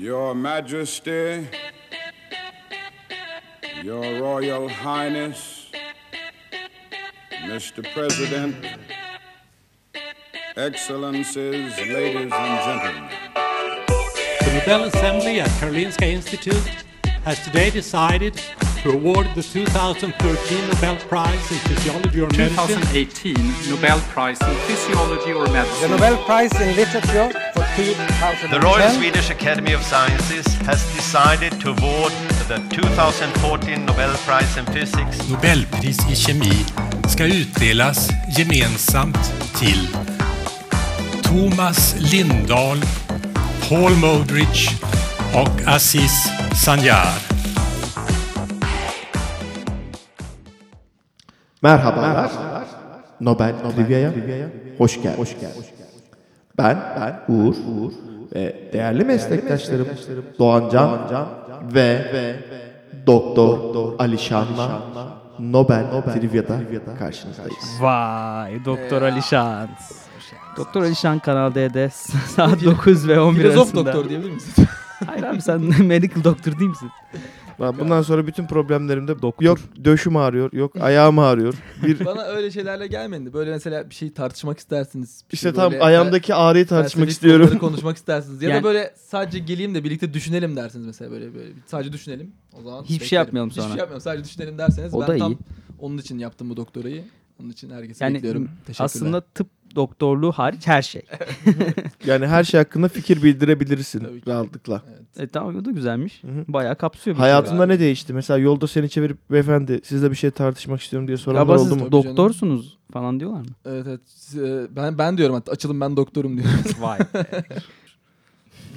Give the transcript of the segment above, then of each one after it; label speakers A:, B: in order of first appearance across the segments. A: Your Majesty, Your Royal Highness, Mr. President, Excellencies, ladies and gentlemen.
B: The Nobel Assembly at Karolinska Institute has today decided to award the 2013 Nobel Prize in Physiology or Medicine
C: 2018 Nobel Prize in Physiology or
D: The
C: Medicine
D: Nobel Prize in Literature for 2010
E: The Royal Swedish Academy of Sciences has decided to award the 2014 Nobel Prize in Physics
F: Nobelpris i kemi ska utdelas gemensamt till Thomas Lindahl, Paul Modrich och Aziz Sanjar.
G: Merhabalar. Nobel, Trivia'ya hoş geldiniz. Ben, Uğur, ve değerli meslektaşlarım Doğan Can ve, Doktor, Ali Şan'la Nobel, Trivia'da karşınızdayız.
H: Vay Doktor Alişan. Doktor Alişan Kanal D'de saat 9 ve 11
I: Filozof
H: arasında.
I: doktor diyebilir misin?
H: Hayır abi sen medical doktor değil misin?
G: Lan Bundan sonra bütün problemlerimde yok döşüm ağrıyor, yok ayağım ağrıyor. Bir
I: Bana öyle şeylerle gelmedi. Böyle mesela bir şey tartışmak istersiniz. Bir
G: işte
I: şey
G: tam
I: böyle
G: ayağımdaki ağrıyı
I: fel-
G: tartışmak
I: felsefik
G: istiyorum.
I: konuları konuşmak istersiniz. Ya
H: Yani-
I: da böyle sadece geleyim de birlikte düşünelim dersiniz mesela böyle böyle. Sadece düşünelim. O zaman
H: Hiçbir şey
I: beklerim.
H: yapmayalım sonra.
I: Hiçbir şey yapmayalım. Sadece düşünelim derseniz
H: O
I: ben
H: da
I: tam
H: iyi.
I: onun için yaptım bu doktorayı. Onun için herkesi
H: Yani
I: bekliyorum. Teşekkürler.
H: aslında tıp doktorluğu hariç her şey.
G: Yani her şey hakkında fikir
I: Tabii
G: bildirebilirsin
I: ki.
G: rahatlıkla.
H: E, tamam o da güzelmiş.
G: Hı hı.
H: Bayağı kapsıyor. bir şey
G: Hayatında
I: abi.
G: ne değişti? Mesela yolda seni çevirip beyefendi sizle bir şey tartışmak istiyorum diye
H: şey.
G: soranlar
H: Galiba
G: oldu
H: siz
G: mu?
I: Tabii
H: doktorsunuz falan diyorlar mı?
I: evet, evet. Siz, e, ben ben diyorum hatta açılın ben doktorum diyorum.
H: Vay.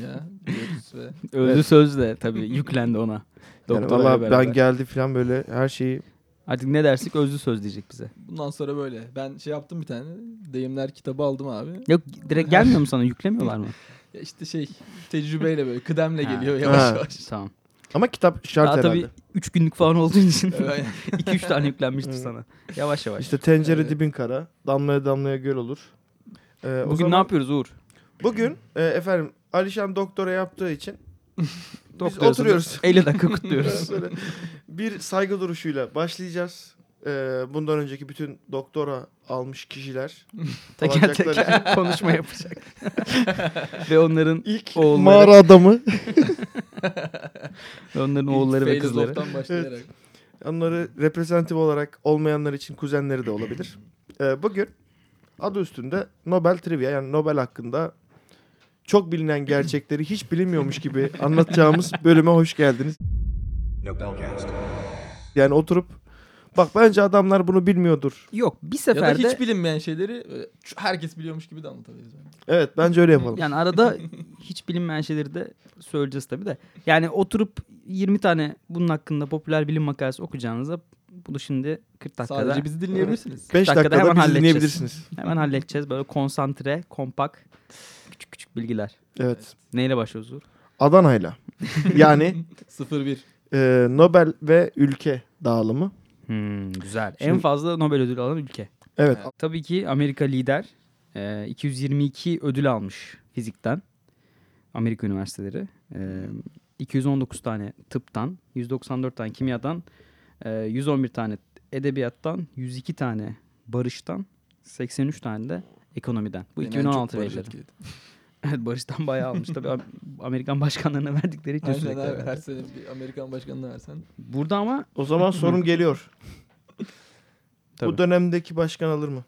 I: ya diyoruz ve
H: Öldü
G: Evet.
H: sözle tabii yüklendi ona.
G: Yani
H: Doktorla
G: valla
H: beraber.
G: ben geldi falan böyle her şeyi
H: Artık ne dersek özlü söz diyecek bize.
I: bundan sonra böyle. Ben şey yaptım bir tane. Deyimler kitabı aldım abi.
H: Yok direkt gelmiyor mu sana? Yüklemiyorlar mı?
I: Ya işte şey tecrübeyle böyle kıdemle
H: Ha.
I: geliyor yavaş
G: Ha.
I: yavaş.
H: tamam.
G: ama kitap şart
H: Daha
G: herhalde.
H: tabii 3 günlük falan olduğu için
I: Evet.
H: 2-3 tane yüklenmiştir sana. Yavaş yavaş.
G: İşte tencere
I: Evet.
G: dibin kara, damlaya damlaya göl olur. Ee, o
H: Bugün ne
G: zaman-
H: yapıyoruz Uğur?
G: Bugün e, efendim Alişan doktora yaptığı için
H: Doktorasını
G: oturuyoruz.
H: 50 dakika kutluyoruz.
G: böyle bir saygı duruşuyla başlayacağız. Ee, bundan önceki bütün doktora almış kişiler
H: teker teker konuşma yapacak. Ve onların
G: ilk
H: Oğulları.
G: mağara adamı
H: ve onların oğulları ve kızları.
I: Filozoftan başlayarak.
G: Onları reprezentatif olarak olmayanlar için kuzenleri de olabilir. Ee, bugün adı üstünde Nobel Trivia yani Nobel hakkında çok bilinen gerçekleri hiç bilinmiyormuş gibi anlatacağımız bölüme hoş geldiniz. Yani oturup bak bence adamlar bunu bilmiyordur.
H: Yok bir
I: Ya da
H: seferde
I: hiç bilinmeyen şeyleri böyle ç- herkes biliyormuş gibi de anlatabiliriz. Yani.
G: Evet bence öyle yapalım.
H: yani arada hiç bilinmeyen şeyleri de söyleyeceğiz tabii de. Yani oturup 20 tane bunun hakkında popüler bilim makalesi okuyacağınıza bunu şimdi 40 dakikada
I: Sadece bizi dinleyebilirsiniz.
G: 5
H: dakikada
G: dakikada,
H: hemen
G: bizi
H: halledeceğiz.
G: dinleyebilirsiniz.
H: hemen halledeceğiz. Böyle konsantre, kompak, küçük küçük bilgiler.
G: Evet.
H: Neyle başlıyoruz Uğur?
G: Adana'yla. Yani
I: 0-1.
G: e, Nobel ve ülke dağılımı.
H: Hmm, güzel. En
G: Şimdi-
H: fazla Nobel ödülü alan ülke. Ee,
G: Evet.
H: Tabii ki Amerika lider. Ee, 222 ödül almış fizikten. Amerika üniversiteleri. Ee, 219 tane tıptan, 194 tane kimyadan, e, 111 tane edebiyattan, 102 tane barıştan, 83 tane de ekonomiden. Bu
I: Beni en
H: 2016
I: çok barış
H: verileri.
I: etkiledi.
H: Evet barıştan bayağı almış. Tabii Am- Amerikan başkanlarına verdikleri için
I: Aynen
H: sürekli.
I: abi. Her
H: herhalde.
I: sene bir Amerikan başkanına versen.
H: Burada ama
G: O zaman sorum geliyor.
H: Tabii.
G: Bu dönemdeki başkan alır mı?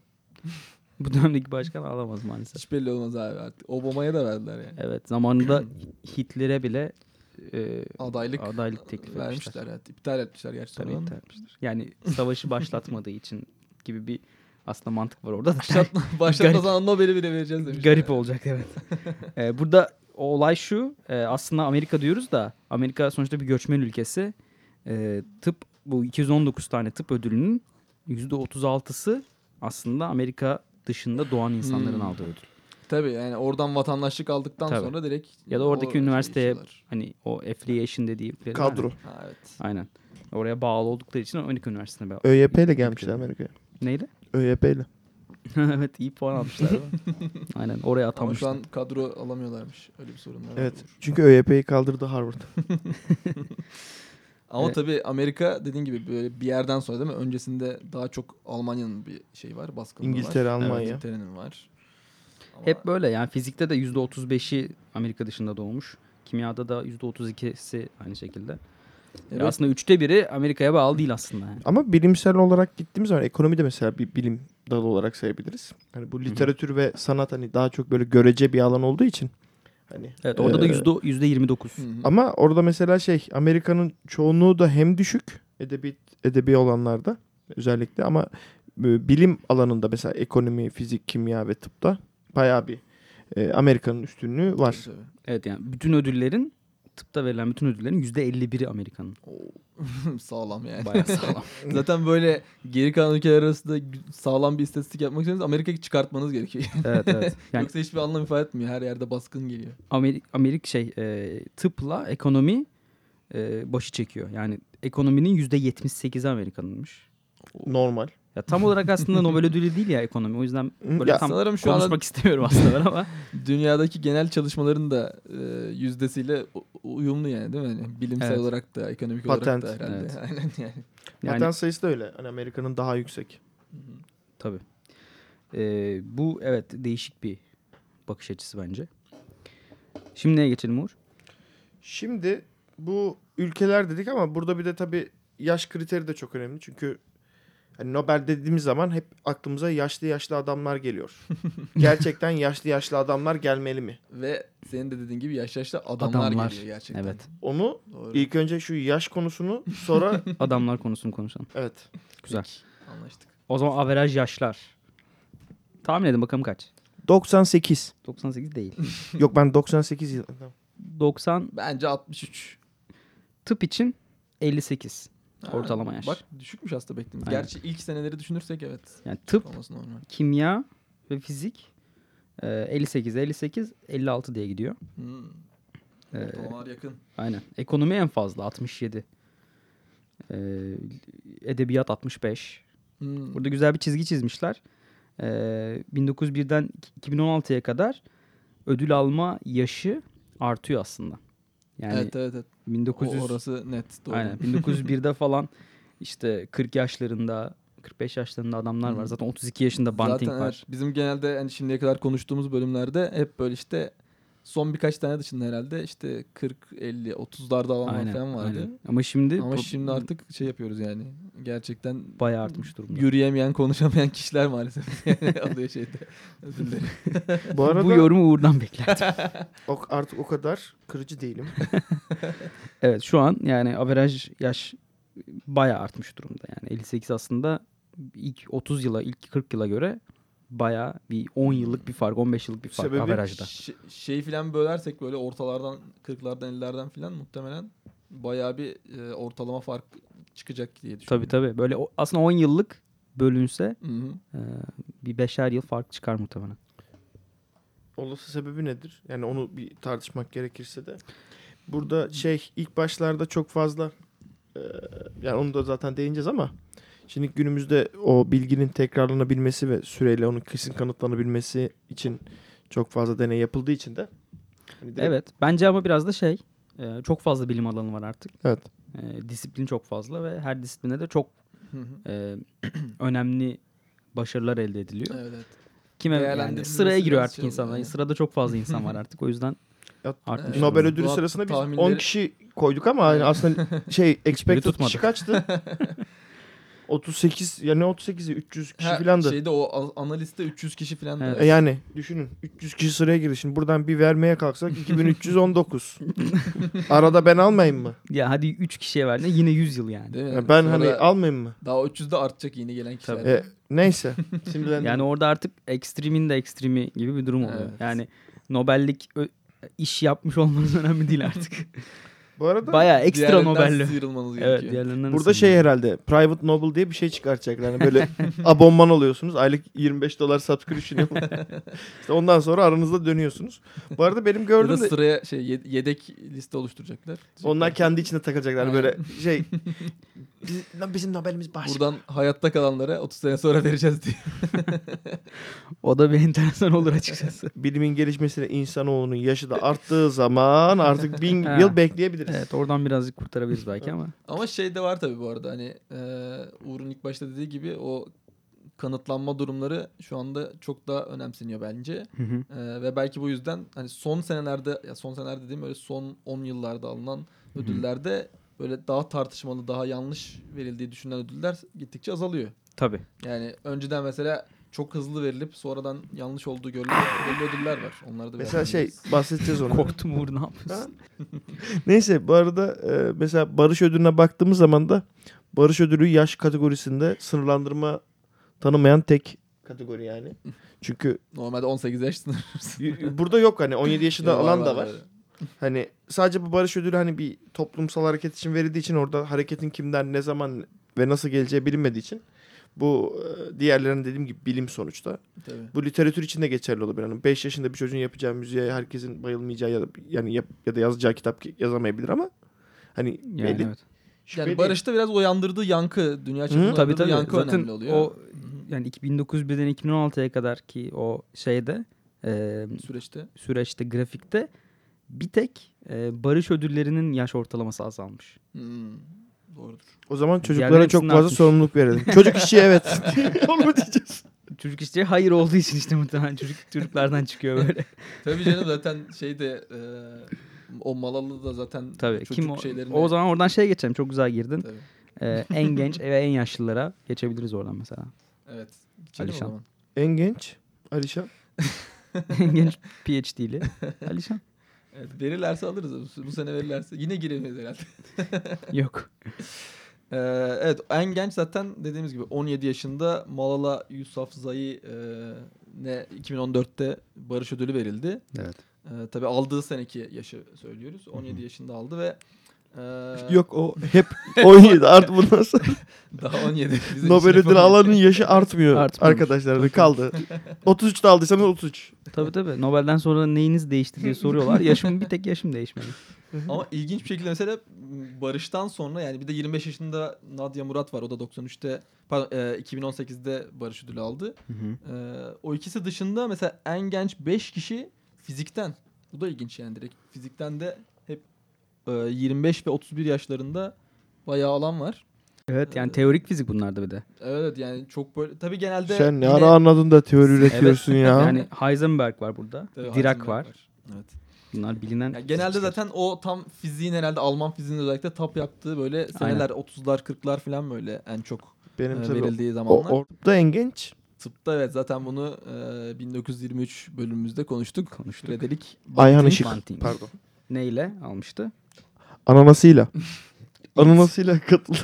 H: bu dönemdeki başkan alamaz maalesef.
I: Hiç belli olmaz abi artık. Obama'ya da verdiler yani.
H: Evet zamanında Hitler'e bile e,
I: Adaylık,
H: Adaylık teklif
I: vermişler.
H: etmişler.
I: Evet. İptal etmişler gerçi
H: Tabii
I: sonradan.
H: iptal etmiştir. Yani savaşı başlatmadığı için gibi bir aslında mantık var orada da.
I: Başlatma
H: Garip.
I: zaman Nobel'i bile vereceğiz demişler.
H: Garip olacak evet. Ee, burada o olay şu e, aslında Amerika diyoruz da Amerika sonuçta bir göçmen ülkesi. Ee, tıp bu 219 tane tıp ödülünün %36'sı aslında Amerika dışında doğan insanların
I: Hmm.
H: aldığı ödül.
I: Tabii yani oradan vatandaşlık aldıktan
H: Tabii.
I: sonra direkt.
H: Ya da
I: o
H: oradaki
I: şey
H: üniversiteye-
I: işiyorlar.
H: Hani o affiliation dediği
G: Kadro.
I: Ha, evet.
H: Aynen. Oraya bağlı oldukları için Amerika Üniversitesi'ne bağlı.
G: ÖYP ile gelmişler Amerika'ya.
H: Neyle?
G: ÖYP ile.
H: evet iyi puan almışlar. ama. Aynen oraya
I: Ama şu
H: atamışlar.
I: an kadro alamıyorlarmış. Öyle bir sorunlar var.
G: Evet. Çünkü ÖYP'yi kaldırdı Harvard.
I: Ama
H: Evet.
I: tabii Amerika dediğin gibi böyle bir yerden sonra değil mi? Öncesinde daha çok Almanya'nın bir şey var. Baskını
G: İngiltere,
I: var.
G: Almanya.
I: İngiltere'nin var. Ama
H: Hep böyle yani fizikte de %35'i Amerika dışında doğmuş. Kimyada da %32'si aynı şekilde.
I: Evet.
H: Ya aslında üçte biri Amerika'ya bağlı değil aslında. Yani.
G: Ama bilimsel olarak gittiğimiz zaman ekonomi de mesela bir bilim dalı olarak sayabiliriz. Hani bu literatür ve sanat hani daha çok böyle görece bir alan olduğu için. Hani
H: Evet orada da
G: Ee,
H: yüzde, %29.
I: Hı hı.
G: Ama orada mesela şey Amerika'nın çoğunluğu da hem düşük edebi edebi olanlarda özellikle ama e, bilim alanında mesela ekonomi, fizik, kimya ve tıpta bayağı bir e, Amerika'nın üstünlüğü var.
I: Tabii.
H: Evet yani bütün ödüllerin tıpta verilen bütün ödüllerin %51'i Amerika'nın.
I: Oo. sağlam yani.
H: Bayağı sağlam.
I: Zaten böyle geri kalan ülkeler arasında gü- sağlam bir istatistik yapmak istiyorsanız Amerika'yı çıkartmanız gerekiyor.
H: evet evet. Yani
I: Yoksa hiçbir anlam ifade etmiyor. Her yerde baskın geliyor.
H: Amerik, Amerik şey e, tıpla ekonomi e, başı çekiyor. Yani ekonominin %78'i Amerika'nınmış.
G: Normal.
H: Ya tam olarak aslında Nobel ödülü değil ya ekonomi. O yüzden böyle
G: Ya
H: tam
I: sanırım şu
H: konuşmak
I: anda-
H: istemiyorum aslında ben ama.
I: Dünyadaki genel çalışmaların da e, yüzdesiyle u- uyumlu yani değil mi? Yani bilimsel
H: Evet.
I: olarak da ekonomik
G: Patent.
I: olarak da herhalde.
H: Evet.
I: Aynen yani.
H: Yani,
G: Patent sayısı da öyle. Hani Amerika'nın daha yüksek.
H: Tabii. E, bu evet değişik bir bakış açısı bence. Şimdi neye geçelim Uğur?
G: Şimdi bu ülkeler dedik ama burada bir de tabii yaş kriteri de çok önemli. Çünkü hani Nobel dediğimiz zaman hep aklımıza yaşlı yaşlı adamlar geliyor. Gerçekten yaşlı yaşlı adamlar gelmeli mi?
I: Ve senin de dediğin gibi yaş yaşta adamlar,
H: Adamlar.
I: geliyor gerçekten.
H: Evet.
G: Onu
I: Doğru.
G: ilk önce şu yaş konusunu sonra
H: Adamlar konusunu konuşalım.
G: evet.
H: Güzel.
I: Anlaştık.
H: O zaman averaj yaşlar. Tahmin edin bakalım kaç?
G: 98.
H: 98 değil.
G: Yok ben 98 yıl.
H: 90
I: Bence 63.
H: tıp için 58
I: Ha,
H: ortalama yaş.
I: Bak düşükmüş aslında beklediğimiz.
H: Aynen.
I: Gerçi ilk seneleri düşünürsek evet.
H: Yani tıp,
I: Olması normal.
H: kimya ve fizik e, 58, 58, 56 diye gidiyor.
I: Hmm.
H: E,
I: Ortalamalar yakın.
H: Aynen. Ekonomi en fazla 67. E, Edebiyat 65.
I: Hmm.
H: Burada güzel bir çizgi çizmişler. E, 1901'den 2016'ya kadar ödül alma yaşı artıyor aslında. Yani
I: evet evet evet. O-
H: 1900
I: Orası net. Doğru.
H: Aynen 1901'de falan işte 40 yaşlarında 45 yaşlarında adamlar var. Zaten 32 yaşında Banting
I: Zaten
H: var.
I: evet, bizim genelde yani şimdiye kadar konuştuğumuz bölümlerde hep böyle işte son birkaç tane dışında herhalde işte 40, 50, 30'larda alanlar falan vardı.
H: aynen. Ama şimdi
I: Ama
H: pro-
I: şimdi artık şey yapıyoruz yani. Gerçekten
H: bayağı artmış durumda.
I: yürüyemeyen, konuşamayan kişiler maalesef yani alıyor şeyde. Özür dilerim.
G: Bu arada
H: Bu yorumu Uğur'dan beklerdim.
G: o- artık o kadar kırıcı değilim.
H: evet şu an yani averaj yaş bayağı artmış durumda. Yani 58 aslında ilk 30 yıla, ilk 40 yıla göre bayağı bir 10 yıllık bir fark, 15 yıllık bir fark
G: Sebebi
H: averajda.
I: Ş- şey filan bölersek böyle ortalardan, 40'lardan, 50'lerden filan muhtemelen bayağı bir e, ortalama fark çıkacak diye
H: Tabii
I: düşünüyorum.
H: tabii. Böyle o- aslında 10 yıllık bölünse
I: Hı hı.
H: e, bir beşer yıl fark çıkar muhtemelen.
G: Olası sebebi nedir? Yani onu bir tartışmak gerekirse de. Burada şey ilk başlarda çok fazla e, yani onu da zaten değineceğiz ama şimdi günümüzde o bilginin tekrarlanabilmesi ve süreyle onun kesin kanıtlanabilmesi için çok fazla deney yapıldığı için de hani direkt-
H: Evet. Bence ama biraz da şey e, çok fazla bilim alanı var artık.
G: Evet.
H: E, disiplin çok fazla ve her disipline de çok
I: Hı hı.
H: e, önemli başarılar elde ediliyor.
I: Evet, evet.
H: Kime yani
I: Değerlendirilmesi
H: sıraya giriyor
I: biraz
H: artık
I: şey oluyor,
H: insanlar.
I: yani.
H: Sırada çok fazla insan var artık. O yüzden
G: Ya,
H: artmış.
I: Evet.
G: Nobel
H: durumda.
G: ödülü
I: Bu
G: sırasında biz
I: tahminleri-
G: 10 kişi koyduk ama yani aslında şey expected
H: tutmadı.
G: kişi kaçtı? 38 ya ne 38'i 300 kişi filandı.
H: şey,
I: Şeyde o a- analiste 300 kişi filan da.
H: Evet.
G: E yani düşünün 300 kişi sıraya girdi. Şimdi buradan bir vermeye kalksak 2319. Arada ben almayayım mı?
H: Ya hadi 3 kişiye verdin yine 100 yıl yani.
I: Değil mi?
G: Ya ben
I: Sonra
G: hani almayayım mı?
I: daha o 300 de artacak yeni gelen kişiler.
G: E, neyse. Sinirlendim.
H: Yani orada artık ekstremin de ekstremi gibi bir durum oluyor.
I: Evet.
H: Yani Nobel'lik ö- iş yapmış olmanız önemli değil artık.
G: Bu arada
H: Bayağı ekstra
I: Diğerlerinden
H: Nobel'li.
I: sıyrılmanız
H: Evet
I: gerekiyor.
H: diğerlerinden
G: Burada şey herhalde Private Noble diye bir şey çıkartacaklar. Yani böyle abonman oluyorsunuz. Aylık 25 dolar subscription. işte ondan sonra aranızda dönüyorsunuz. Bu arada benim
I: ya da
G: gördüğüm de
I: sıraya şey ye- yedek liste oluşturacaklar.
G: onlar kendi içinde takılacaklar
I: Aynen.
G: böyle şey. Biz- lan bizim Nobel'imiz baş.
I: Buradan hayatta kalanlara 30 sene sonra vereceğiz diye.
H: O da bir enteresan olur açıkçası.
G: Bilimin gelişmesiyle insanoğlunun yaşı da arttığı zaman artık bin
H: Ha.
G: yıl bekleyebiliriz.
H: evet oradan birazcık kurtarabiliriz belki ama.
I: Ama şey de var tabii bu arada hani e, Uğur'un ilk başta dediği gibi o kanıtlanma durumları şu anda çok daha önemseniyor bence.
H: Hı hı.
I: E, ve belki bu yüzden hani son senelerde ya son senelerde dediğim öyle son 10 yıllarda alınan ödüllerde böyle daha tartışmalı, daha yanlış verildiği düşünülen ödüller gittikçe azalıyor.
H: Tabii.
I: Yani önceden mesela çok hızlı verilip sonradan yanlış olduğu görülen belli ödüller var. Onları da
G: Mesela
I: biraz
G: şey
I: anlarız.
G: bahsedeceğiz onu.
H: Korktum Uğur ne yapıyorsun?
G: Neyse bu arada e, mesela barış ödülüne baktığımız zaman da barış ödülü yaş kategorisinde sınırlandırma tanımayan tek kategori yani. Çünkü
I: normalde 18 yaş sınırı.
G: y- y- burada yok hani 17 yaşında
I: Var,
G: alan
I: var,
G: da var.
I: var.
G: Hani sadece bu barış ödülü hani bir toplumsal hareket için verildiği için orada hareketin kimden ne zaman ve nasıl geleceği bilinmediği için bu e, diğerlerinin dediğim gibi bilim sonuçta.
I: Tabii.
G: Bu literatür için de geçerli olabilir. Hani 5 yaşında bir çocuğun yapacağı müziğe herkesin bayılmayacağı ya da yani yap- ya da yazacağı kitap ki- yazamayabilir ama hani
H: Yani
G: belli
H: evet.
G: şüpheli.
I: Yani Barış'ta biraz uyandırdığı yankı, dünya
G: Hı,
I: çapında
G: tabii,
H: Tabii
I: uyandırdığı
H: tabii.
I: yankı
H: Zaten
I: önemli oluyor.
H: o yani 1901'den 2016'ya kadar ki o şeyde e,
I: süreçte.
H: süreçte grafikte bir tek e, barış ödüllerinin yaş ortalaması azalmış.
I: Hmm, doğrudur.
G: o zaman çocuklara
H: Diğerlerinin
G: çok
H: hepsini
G: fazla
H: atmış.
G: sorumluluk verelim. Çocuk işi evet. Onu diyeceğiz.
H: Çocuk işte hayır olduğu için işte muhtemelen çocuk çocuklardan çıkıyor böyle.
I: Tabii canım zaten şey de e, o Malalı da zaten
H: Tabii.
I: çocuk
H: Kim o,
I: şeylerini...
H: o zaman oradan şeye geçelim. Çok güzel girdin.
I: Tabii.
H: E, en genç ve en yaşlılara geçebiliriz oradan mesela.
I: Evet. Geçelim
H: Alişan.
I: o zaman.
G: En genç Alişan.
H: en genç PhD'li Alişan.
I: Evet, verirlerse alırız. Bu, bu sene verirlerse. Yine giremeyiz herhalde.
H: Yok.
I: Ee, evet en genç zaten dediğimiz gibi 17 yaşında Malala Yousafzai e, ne 2014'te Barış Ödülü verildi.
H: Evet.
I: Ee, tabii aldığı seneki yaşı söylüyoruz. 17 yaşında aldı ve e,
G: Yok o hep 17 art bundan sonra
I: daha 17. Bizim
G: Nobel
I: için
G: ödülü alanın yaşı artmıyor
H: Artmıyormuş.
G: arkadaşlar da kaldı. 33'te aldıysanız 33.
H: Tabii tabii. Nobel'den sonra neyiniz değişti diye soruyorlar. Yaşım bir tek yaşım değişmedi.
I: Ama ilginç bir şekilde mesela Barış'tan sonra yani bir de 25 yaşında Nadia Murat var. O da 93'te pardon e, 2018'de Barış ödülü aldı. E, o ikisi dışında mesela en genç 5 kişi fizikten. Bu da ilginç yani direkt. Fizikten de hep e, 25 ve 31 yaşlarında bayağı alan var.
H: Evet yani teorik fizik bunlarda bir de.
I: Evet yani çok böyle tabii genelde
G: Sen Şey, ne
I: yine-
G: ara anladın da teori üretiyorsun ya.
H: Yani Heisenberg var burada.
I: Tabii
H: Dirac
I: Heisenberg
H: var.
I: Evet.
H: Bunlar bilinen.
I: Yani genelde
H: fizikçiler.
I: zaten o tam fiziğin herhalde Alman fiziğinin özellikle tap yaptığı böyle seneler 30'lar 40'lar falan böyle en çok
G: Benim
I: e,
G: tabii o-
I: verildiği zamanlar.
G: o, orada en genç
I: Tıpta evet zaten bunu e, 1923 bölümümüzde konuştuk.
H: Konuştuk.
I: Frederick
G: Ayhan
H: Banting,
G: Işık.
H: Banting.
G: Pardon.
H: neyle almıştı?
G: Ananasıyla. Ananasıyla katıldı.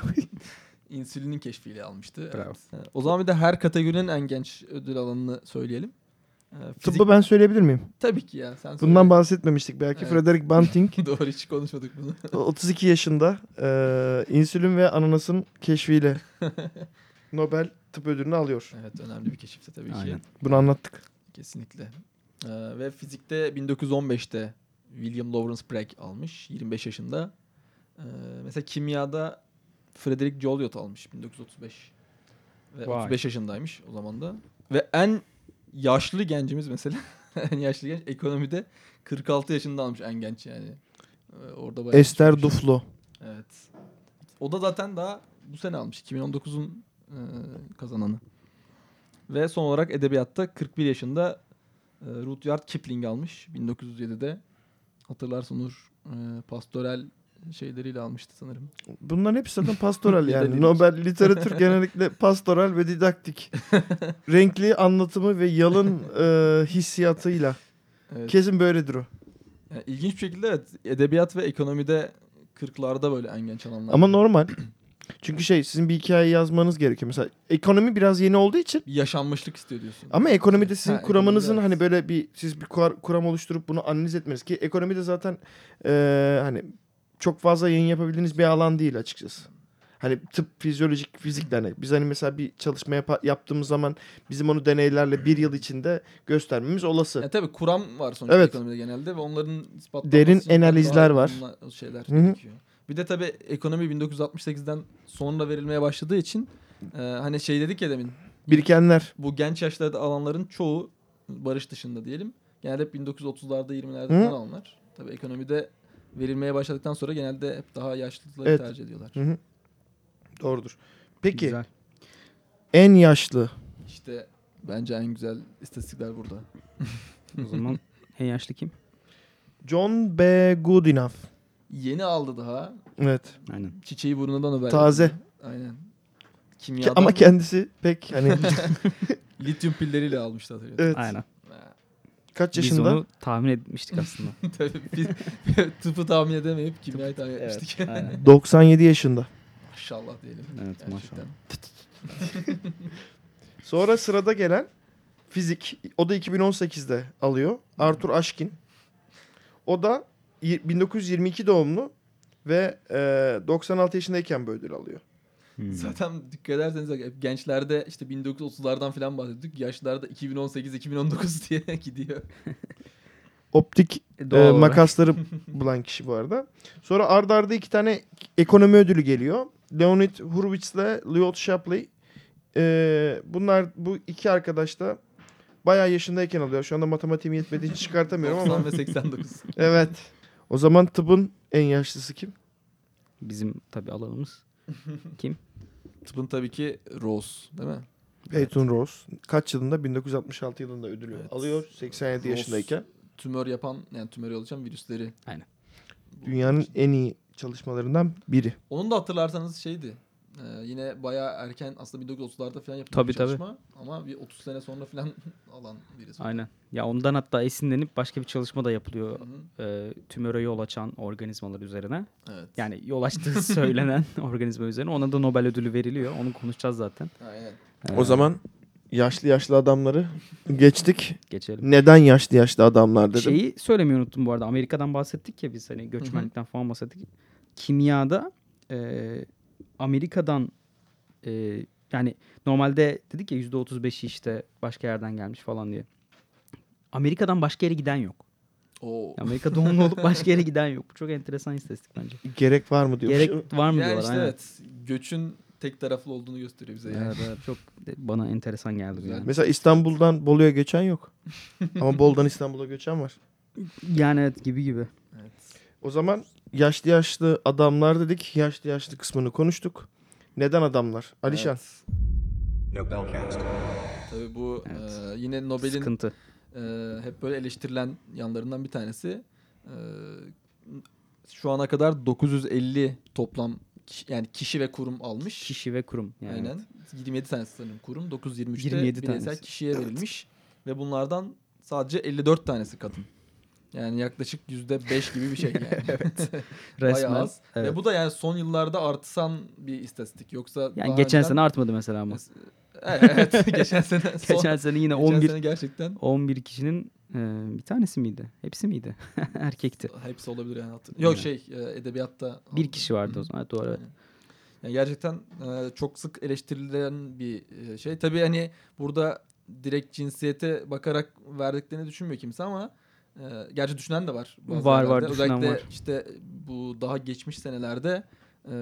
I: insülinin keşfiyle almıştı.
H: Bravo.
I: Evet. E, O zaman bir de her kategorinin en genç ödül alanını söyleyelim. E, fizik
G: Tıbbı ben söyleyebilir miyim?
I: tabii ki ya sen söyle.
G: Bundan bahsetmemiştik belki.
I: Evet.
G: Frederick Banting
I: Doğru hiç konuşmadık bunu.
G: 32 yaşında eee, insülin ve ananasın keşfiyle Nobel tıp ödülünü alıyor.
I: evet önemli bir keşifti tabii
H: Aynen.
I: ki.
G: Bunu anlattık.
I: Kesinlikle. E, ve fizikte 1915'te William Lawrence Bragg almış 25 yaşında. E, mesela kimyada Frederick Joliot almış 1935. Ve
H: Vay.
I: 35 yaşındaymış o zaman da. Ve en yaşlı gencimiz mesela en yaşlı genç ekonomide 46 yaşında almış en genç yani. Ee, Orada bayağı
G: Esther
I: yaşlıymış.
G: Duflo.
I: Evet. O da zaten daha bu sene almış 2019'un e, kazananı. Ve son olarak edebiyatta 41 yaşında e, Rudyard Kipling almış 1907'de. Hatırlarsın Nur e, pastoral şeyleriyle almıştı sanırım.
G: Bunların hepsi zaten pastoral yani.
I: Dediğimiz.
G: Nobel literatür genellikle pastoral ve didaktik. Renkli anlatımı ve yalın eee, hissiyatıyla.
I: Evet.
G: Kesin böyledir o.
I: Yani ilginç bir şekilde evet, edebiyat ve ekonomide 40'larda böyle en genç alanlar.
G: Ama normal. Çünkü şey sizin bir hikaye yazmanız gerekiyor. Mesela ekonomi biraz yeni olduğu için
I: bir yaşanmışlık istiyor diyorsun.
G: ama ekonomide sizin
I: Ha,
G: kuramınızın
I: ekonomide,
G: hani böyle bir siz bir kuar- kuram oluşturup bunu analiz etmeniz ki ekonomide zaten eee, hani çok fazla yayın yapabildiğiniz bir alan değil açıkçası. Hani tıp, fizyolojik, fizik de hani biz hani mesela bir çalışma yapa- yaptığımız zaman bizim onu deneylerle bir yıl içinde göstermemiz olası.
I: Ya tabii kuram var sonuçta
G: Evet.
I: ekonomide genelde ve onların ispatlanması
G: Derin
I: için çok daha
G: analizler var.
I: bunlar- Şeyler
G: Hı hı.
I: gerekiyor. Bir de tabii ekonomi 1968'den sonra verilmeye başladığı için e, hani şey dedik ya demin
G: Birikenler.
I: bu genç yaşlarda alanların çoğu barış dışında diyelim. Genelde hep 1930'larda 20'lerde
G: Hı.
I: falan alanlar. Tabii ekonomide verilmeye başladıktan sonra genelde hep daha yaşlıları
G: Evet.
I: tercih ediyorlar.
G: Hı. Doğrudur. Peki
H: Güzel.
G: en yaşlı.
I: İşte bence en güzel istatistikler burada.
H: O zaman en yaşlı kim?
G: John B. Goodenough.
I: Yeni aldı daha.
G: Evet.
H: Aynen.
I: Çiçeği burnundan haber.
G: Taze.
I: Aynen.
G: Ki-
I: Kimyadan
G: Ama kendisi pek hani
I: lityum pilleriyle almıştı hatırlıyorum.
G: evet.
H: Aynen.
G: Kaç
H: Biz
G: yaşında?
H: onu tahmin etmiştik aslında.
I: Tabii biz tıpı tahmin edemeyip kimyayı tahmin etmiştik.
H: Aynen.
G: 97 yaşında.
I: Maşallah diyelim.
H: Evet
I: Gerçekten.
H: maşallah. Hmm.
G: Sonra sırada gelen fizik. O da 2018'de alıyor.
H: Hmm.
G: Arthur Ashkin. O da y- 1922 doğumlu ve e, 96 yaşındayken bu ödül alıyor.
H: Hmm.
I: Zaten dikkat ederseniz hep gençlerde işte 1930'lardan falan bahsettik. Yaşlılarda 2018-2019 diye gidiyor.
G: Optik
H: E,
G: e,
H: doğal olarak.
G: makasları bulan kişi bu arada. Sonra arda arda iki tane ekonomi ödülü geliyor. Leonid Hurwitz ile Lyot Shapley. E, bunlar bu iki arkadaş da bayağı yaşındayken alıyor. Şu anda matematiğim yetmediği için çıkartamıyorum ama.
I: 90 ve 89.
G: evet. O zaman tıbbın en yaşlısı kim?
H: Bizim tabii alanımız.
I: Tıpın tabii ki Rose değil mi?
G: Peyton Rose kaç yılında? 1966 yılında ödülü
I: Evet.
G: alıyor. 87
I: Rose.
G: yaşındayken.
I: Tümör yapan yani tümörü oluşan virüsleri.
H: Aynen.
G: Dünyanın en iyi çalışmalarından biri.
I: Onun da hatırlarsanız şeydi. e, yine bayağı erken aslında 1930'larda falan yapılan
H: Tabii,
I: bir
H: tabii.
I: çalışma. Ama bir 30 sene sonra falan alan birisi.
H: Aynen. Ya ondan hatta esinlenip başka bir çalışma da yapılıyor.
I: Hı hı,
H: E, tümöre yol açan organizmalar üzerine.
I: Evet.
H: Yani yol açtığı söylenen organizma üzerine. Ona da Nobel ödülü veriliyor. Onu konuşacağız zaten.
I: Aynen.
H: E,
G: O zaman yaşlı yaşlı adamları geçtik.
H: geçelim.
G: Neden yaşlı yaşlı adamlar dedim.
H: Şeyi söylemeyi unuttum bu arada. Amerika'dan bahsettik ya biz hani göçmenlikten falan bahsettik. Kimyada e, Amerika'dan e, yani normalde dedik ya %35'i işte başka yerden gelmiş falan diye. Amerika'dan başka yere giden yok.
I: Oo.
H: Amerika doğumlu olup başka yere giden yok. Bu çok enteresan istatistik bence.
G: Gerek var mı diyor.
H: Gerek var mı
I: yani
H: diyorlar.
I: işte
H: aynen.
I: evet. Göçün tek taraflı olduğunu gösteriyor bize. Yani.
H: Evet, evet, çok de- bana enteresan geldi. bu
I: Güzel.
H: Yani.
G: Mesela İstanbul'dan Bolu'ya göçen yok. Ama Bolu'dan İstanbul'a göçen var.
H: yani evet gibi gibi.
G: O zaman yaşlı yaşlı adamlar dedik. Yaşlı yaşlı kısmını konuştuk. Neden adamlar? Alişan.
I: Tabii bu
H: Evet.
I: e, yine Nobel'in
H: Sıkıntı.
I: e, hep böyle eleştirilen yanlarından bir tanesi. E, şu ana kadar 950 toplam kişi, yani kişi ve kurum almış.
H: Kişi ve kurum. Yani.
I: Aynen. 27 tanesi sanırım kurum. 923'te
H: 27
I: bireysel
H: tanesi.
I: kişiye verilmiş. Ve bunlardan sadece 54 tanesi kadın. Yani yaklaşık %5 gibi bir şey yani. evet.
H: Resmen.
I: Bayağı az.
H: evet.
I: Ve bu da yani son yıllarda artsan bir istatistik. Yoksa
H: yani
I: daha
H: geçen
I: önceden-
H: sene artmadı mesela ama.
I: Evet, evet. geçen sene. son-
H: Geçen sene yine
I: geçen
H: 11
I: sene gerçekten
H: 11 kişinin e, bir tanesi miydi? Hepsi miydi? Erkekti.
I: hepsi olabilir yani. hatır- Yok
H: Aynen.
I: şey e, edebiyatta.
H: Bir kişi vardı o zaman. Evet, doğru. evet.
I: Yani gerçekten e, çok sık eleştirilen bir e, şey. Tabii hani burada direkt cinsiyete bakarak verdiklerini düşünmüyor kimse ama e, gerçi düşünen de var. bazı
H: Var,
I: yerlerde.
H: var, düşünen
I: Özellikle
H: var.
I: işte bu daha geçmiş senelerde e,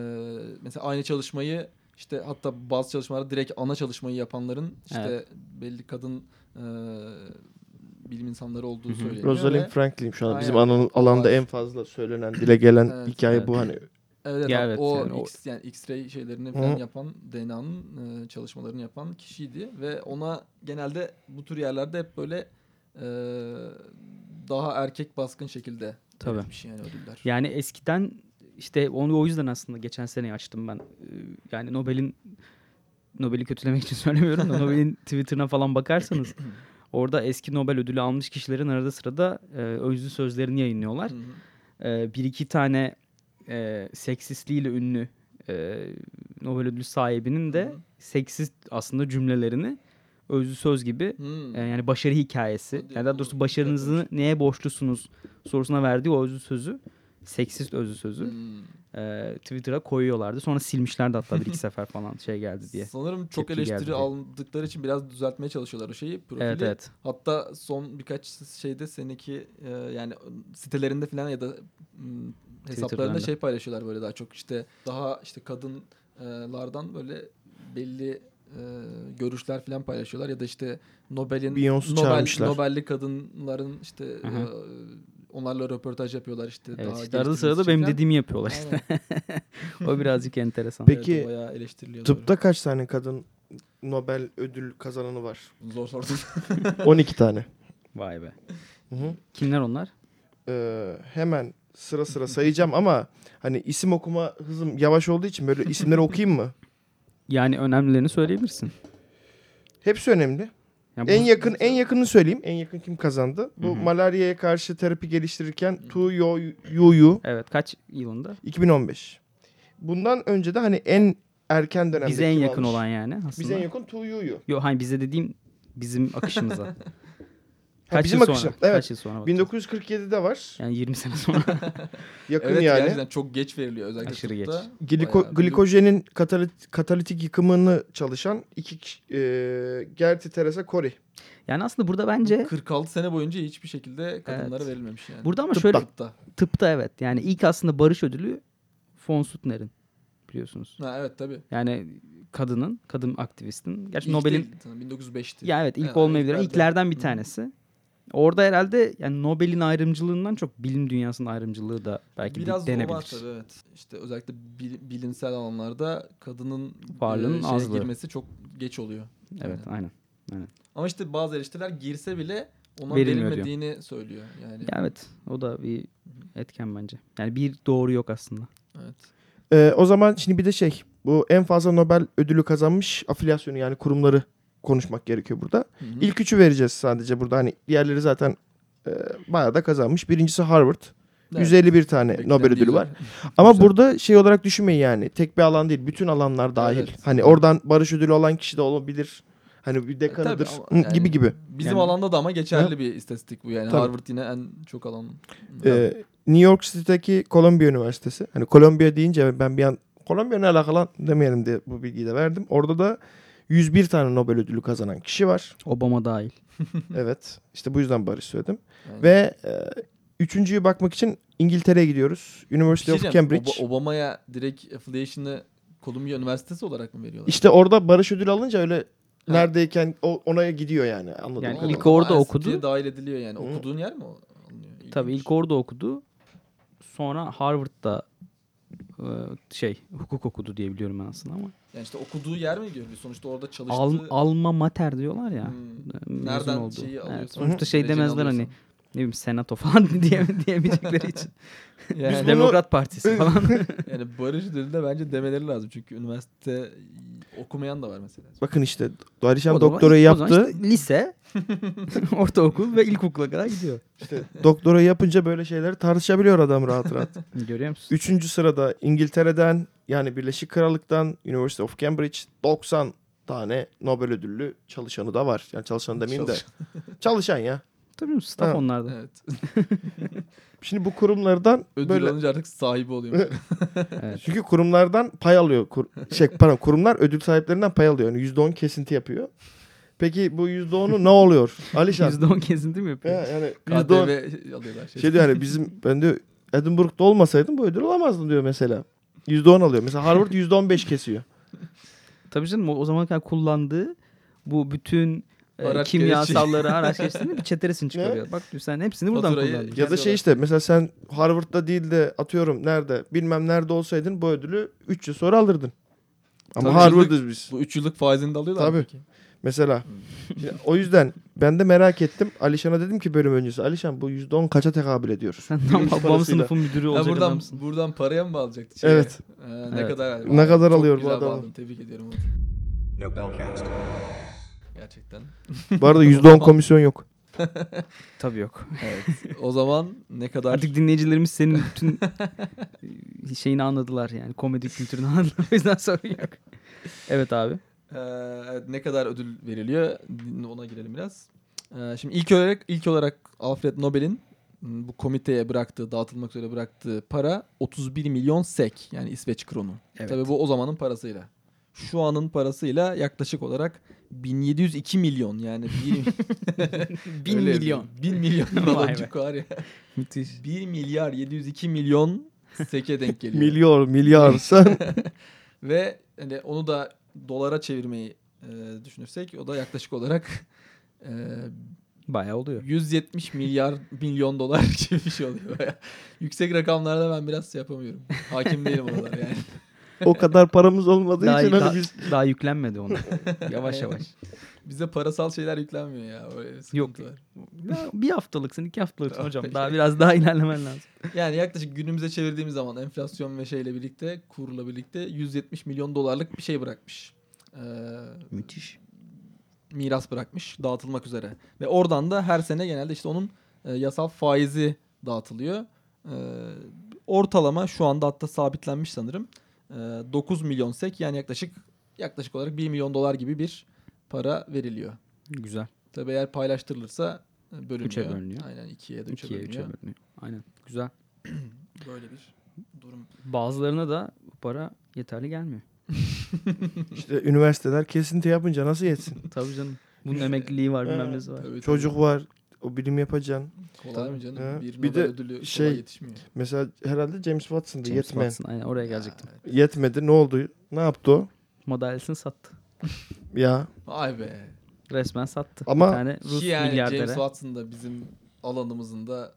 I: mesela aynı çalışmayı işte hatta bazı çalışmalarda direkt ana çalışmayı yapanların işte
H: Evet.
I: belli kadın e, bilim insanları olduğu söyleniyor.
G: Rosalind
I: ve-
G: Franklin şu an bizim
I: Aynen.
G: alan- alanda
I: Var.
G: en fazla söylenen, dile gelen
I: Evet.
G: hikaye bu
H: Evet.
G: hani.
I: Evet,
H: Ya
I: ha-
H: evet,
I: o
H: yani o-
I: X yani X-ray şeylerini falan
G: Hı.
I: yapan DNA'nın e, çalışmalarını yapan kişiydi ve ona genelde bu tür yerlerde hep böyle e, daha erkek baskın şekilde
H: Tabii.
I: verilmiş yani ödüller.
H: Yani eskiden işte onu o yüzden aslında geçen sene açtım ben. Ee, Yani Nobel'in Nobel'i kötülemek için söylemiyorum da Nobel'in Twitter'ına falan bakarsanız orada eski Nobel ödülü almış kişilerin arada sırada e, özlü sözlerini yayınlıyorlar.
I: Hı hı.
H: E, bir iki tane e, seksistliğiyle ünlü e, Nobel ödülü sahibinin de seksist aslında cümlelerini özlü söz gibi
I: Hmm.
H: e, yani başarı hikayesi.
I: Hadi
H: Yani
I: ya,
H: daha
I: bu
H: doğrusu
I: güzel
H: başarınızı
I: konuşma.
H: neye borçlusunuz sorusuna verdiği o özlü sözü seksist özlü sözü
I: Hmm.
H: e, Twitter'a koyuyorlardı. Sonra silmişlerdi hatta bir iki sefer falan şey geldi diye.
I: Sanırım çok
H: Tepki geldi
I: eleştiri
H: diye.
I: aldıkları için biraz düzeltmeye çalışıyorlar o şeyi. Profili.
H: Evet evet.
I: Hatta son birkaç şeyde seninki e, yani sitelerinde falan ya da mm, hesaplarında
H: Twitter'larında.
I: şey paylaşıyorlar böyle daha çok işte daha işte kadınlardan böyle belli e, görüşler falan paylaşıyorlar ya da işte Nobel'in
G: Beyoncé
I: Nobel,
G: çağırmışlar.
I: Nobel'li kadınların işte
H: Hı hı.
I: e, onlarla röportaj yapıyorlar işte.
H: Evet
I: daha
H: işte arada
I: geliştirmesi
H: sırada
I: için
H: benim
I: falan.
H: dediğimi yapıyorlar işte.
I: Aynen.
H: o birazcık enteresan.
G: Peki,
I: Evet, o bayağı eleştiriliyor.
G: Tıpta kaç tane kadın Nobel ödül kazananı var?
I: doğru. zor sordun.
G: 12 tane.
H: Vay be.
G: Hı hı.
H: Kimler onlar?
G: Ee, hemen sıra sıra sayacağım ama hani isim okuma hızım yavaş olduğu için böyle isimleri okuyayım mı?
H: Yani önemlilerini söyleyebilirsin.
G: Hepsi önemli.
H: Yani bu-
G: En yakın en yakınını söyleyeyim. En yakın kim kazandı? Bu
H: Hı hı.
G: malaryaya karşı terapi geliştirirken Tu Yo Yuyu
H: Evet kaç yılında?
G: 2015. Bundan önce de hani en erken dönemde
H: Bize en
G: kim
H: yakın
G: almış?
H: olan yani aslında.
G: Bize en yakın Tu Yuyu.
H: Yok hani bize dediğim bizim akışımıza.
G: Ha,
H: kaç
G: bizim
H: yıl sonra?
G: akışım.
H: Kaç
G: Evet.
H: yıl sonra? bakacağız?
G: 1947'de var.
H: Yani 20 sene sonra.
G: Yakın
I: evet
G: yani.
I: gerçekten çok geç veriliyor özellikle
H: Aşırı
I: tıpta.
H: geç.
G: Gliko-
I: Bayağı bir-
G: glikojenin katalit- katalitik yıkımını çalışan iki kişi- e, Gerti Teresa Cori.
H: yani aslında burada bence
I: 46 sene boyunca hiçbir şekilde kadınlara
H: Evet.
I: verilmemiş yani.
H: burada ama
G: Tıpta.
H: şöyle
I: Tıpta.
H: tıpta evet. Yani ilk aslında barış ödülü von Sutner'in biliyorsunuz.
I: Ha, evet tabii.
H: Yani kadının, kadın aktivistin. Gerçi
I: İlk
H: Nobel'in
I: değil, sanırım, 1905'ti.
H: Ya evet ilk
I: Evet,
H: olmayabilir. ama
I: ilklerden.
H: İlklerden
I: Hı
H: bir
I: hı.
H: tanesi. Orada herhalde yani Nobel'in ayrımcılığından çok bilim dünyasının ayrımcılığı da belki
I: Biraz
H: bir
I: o
H: denebilir.
I: var tabii evet. İşte özellikle bil- bilimsel alanlarda kadının
H: Varlığının
I: e, şeye
H: azlığı.
I: girmesi çok geç oluyor.
H: Evet aynen.
I: Ama işte bazı eleştiriler girse bile ona
H: Verilmiyor diyor.
I: verilmediğini söylüyor yani. e,
H: Ya evet o da bir etken bence. Yani bir doğru yok aslında.
I: Evet.
G: E, o zaman şimdi bir de şey bu en fazla Nobel ödülü kazanmış afilyasyonu yani kurumları konuşmak gerekiyor burada.
I: Hı hı.
G: İlk üçü vereceğiz sadece burada. Hani diğerleri zaten e, bayağı da kazanmış. Birincisi Harvard.
I: Evet.
G: 151 tane
I: Beklendiği
G: Nobel ödülü
I: üzere.
G: var. Ama
I: Güzel.
G: burada şey olarak düşünmeyin yani. Tek bir alan değil. Bütün alanlar dahil.
I: Evet. E,
G: Hani oradan barış ödülü olan kişi de olabilir. Hani bir dekanıdır.
I: ama
G: Hı,
I: yani-
G: gibi gibi.
I: Bizim
H: Yani-
I: alanda da ama geçerli bir istatistik bu yani.
G: Tabii.
I: Harvard yine en çok alan.
G: Ee, New York City'deki Columbia Üniversitesi. Hani Columbia deyince ben bir an Columbia ne alakalı lan demeyelim diye bu bilgiyi de verdim. Orada da 101 tane Nobel ödülü kazanan kişi var.
H: Obama dahil.
G: evet. İşte bu yüzden barış söyledim.
I: Aynen.
G: Ve e, üçüncüyü bakmak için İngiltere'ye gidiyoruz. University
I: Bir şey
G: of
I: diyeceğim,
G: Cambridge.
I: Ob- Obama'ya direkt affiliation'ı Columbia Üniversitesi olarak mı veriyorlar?
G: İşte orada barış ödülü alınca öyle neredeyken o, ona gidiyor yani. Anladım.
H: Yani
I: Allah
H: ilk
I: Allah,
H: orada
I: IST'ye
H: okudu.
I: dahil ediliyor yani.
G: Hı.
I: Okuduğun yer mi o? alınıyor? İlginç.
H: Tabii ilk orada okudu. Sonra Harvard'da e, şey hukuk okudu diye biliyorum ben aslında ama.
I: Yani işte okuduğu yer mi görülüyor? Sonuçta orada çalıştığı...
H: Al, alma mater diyorlar ya. E,
I: Hmm.
H: mezun
I: Nereden
H: olduğu.
I: şeyi
H: Evet,
I: alıyorsun?
H: sonuçta şey
I: Dereceni
H: demezler hani
I: alıyorsun.
H: ne bileyim senato falan diye, diyemeyecekleri için.
I: Yani,
G: bunu-
H: Demokrat Partisi falan.
I: yani barış dilinde bence demeleri lazım. Çünkü üniversite okumayan da var mesela.
G: Bakın işte Darişan
H: O zaman-
G: doktorayı
H: o zaman
G: yaptı.
H: işte lise, ortaokul ve ilkokula kadar gidiyor.
G: Doktorayı yapınca böyle şeyleri tartışabiliyor adam rahat rahat.
H: Görüyor musun?
G: Üçüncü sırada İngiltere'den yani Birleşik Krallık'tan University of Cambridge 90 tane Nobel ödüllü çalışanı da var. Yani çalışanı demeyeyim de çalışan ya.
H: Tabii mi? Staff
G: Ha.
H: onlarda.
I: Evet.
G: Şimdi bu kurumlardan
I: Ödül
G: böyle
I: alınca artık sahibi oluyor.
G: çünkü kurumlardan pay alıyor. Kur, şey pardon kurumlar ödül sahiplerinden pay alıyor. Yani %10 kesinti yapıyor. Peki bu %10'u ne oluyor? Alişan.
H: %10 kesinti mi
G: Ya
H: yapıyor?
G: yani %10
I: KDV alıyorlar. Şey.
G: şey diyor hani bizim ben diyor Edinburgh'da olmasaydım bu ödül alamazdım diyor mesela. %10 alıyor. Mesela Harvard %15 kesiyor.
H: Tabii canım o, o zamana kadar kullandığı bu bütün e,
I: Araç
H: kimyasalları araç geliştirdiğinde bir çeteresini çıkarıyor. Bak diyor sen hepsini buradan
I: Faturayı-
H: kullandın.
G: Ya da şey işte mesela sen Harvard'da değil de atıyorum nerede bilmem nerede olsaydın bu ödülü 3 yıl sonra alırdın. Ama
I: Tabii
G: Harvard'ız biz.
I: Bu 3 yıllık faizini de alıyorlar.
G: Tabii. Mesela.
H: Hmm.
G: Şimdi o yüzden ben de merak ettim. Alişan'a dedim ki bölüm öncesi. Alişan bu %10 kaça tekabül ediyor?
H: Sen
G: Gümüş
H: babam
G: parasıyla.
H: sınıfın müdürü
I: Ha,
H: olacak
I: buradan,
H: adamsın.
I: buradan paraya mı bağlayacaktı?
G: Evet.
I: Ee, ne
H: Evet.
I: kadar?
G: Ne kadar
I: Çok
G: alıyor bu
I: güzel
G: adam?
I: bağladın, Tebrik ediyorum onu. Gerçekten.
G: Bu arada %10 komisyon yok.
H: Tabii yok.
I: O zaman ne kadar
H: Artık dinleyicilerimiz senin bütün e, şeyini anladılar yani komedi kültürünü anladılar. O yüzden sorun yok. Evet abi.
I: Ee, evet, ne kadar ödül veriliyor ona girelim biraz. Ee, şimdi ilk olarak ilk olarak Alfred Nobel'in m, bu komiteye bıraktığı, dağıtılmak üzere bıraktığı para 31 milyon sek yani İsveç kronu.
H: Evet.
I: Tabii bu o zamanın parasıyla. Şu anın parasıyla yaklaşık olarak 1702 milyon yani 1
H: Bin milyon.
I: 1 milyon
H: Vay
I: falan
H: be.
I: çıkar ya.
H: Müthiş.
I: 1 milyar 702 milyon seke denk geliyor.
G: Milyar, milyar sen.
I: Ve hani onu da dolara çevirmeyi e, düşünürsek o da yaklaşık olarak e,
H: Bayağı oluyor.
I: 170 milyar milyon dolar gibi bir şey oluyor. Bayağı. Yüksek rakamlarda ben biraz şey yapamıyorum. Hakim değilim oralara yani.
G: o kadar paramız olmadığı
H: Daha,
G: için
H: daha,
G: hani biz
H: daha yüklenmedi ona. yavaş yavaş.
I: Bize parasal şeyler yüklenmiyor ya. Öyle bir sıkıntı
H: Yok.
I: var.
H: Ya bir haftalıksın, iki haftalıksın
I: Tamam,
H: hocam.
I: peki.
H: Daha biraz daha ilerlemen lazım.
I: Yani yaklaşık günümüze çevirdiğimiz zaman enflasyon ve şeyle birlikte kurla birlikte 170 milyon dolarlık bir şey bırakmış. Ee,
H: Müthiş.
I: miras bırakmış dağıtılmak üzere. Ve oradan da her sene genelde işte onun e, yasal faizi dağıtılıyor. Ee, ortalama şu anda hatta sabitlenmiş sanırım. Ee, 9 milyon sek yani yaklaşık yaklaşık olarak 1 milyon dolar gibi bir para veriliyor.
H: Güzel.
I: Tabii eğer paylaştırılırsa e, bölünüyor.
H: Üçe bölünüyor.
I: Aynen ikiye de üçe
H: İkiye, üçe
I: bölünüyor.
H: bölünüyor. Aynen. Güzel.
I: Böyle bir durum.
H: Bazılarına da bu para yeterli gelmiyor.
G: işte üniversiteler kesinti yapınca nasıl yetsin?
H: Tabii canım. Bunun emekliliği var, bilmem nesi var.
I: Tabii,
G: Çocuk var. O bilim yapacaksın.
I: tabii. kolay mı canım?
G: He.
I: Bir,
G: Bir
I: Nobel
G: de
I: ödülü kolay
G: şey-
I: yetişmiyor.
G: Mesela herhalde James Watson'dı.
H: James
G: Yetmen.
H: Watson, Şey, Aynen oraya gelecektim.
G: Yetmedi. Ne oldu? Ne yaptı o?
H: Madalyasını sattı.
G: Ya
I: Vay be.
H: Resmen sattı.
G: Ama-
H: bir tane Rus
I: Ki yani
H: milyardere.
I: James Watson da bizim alanımızın da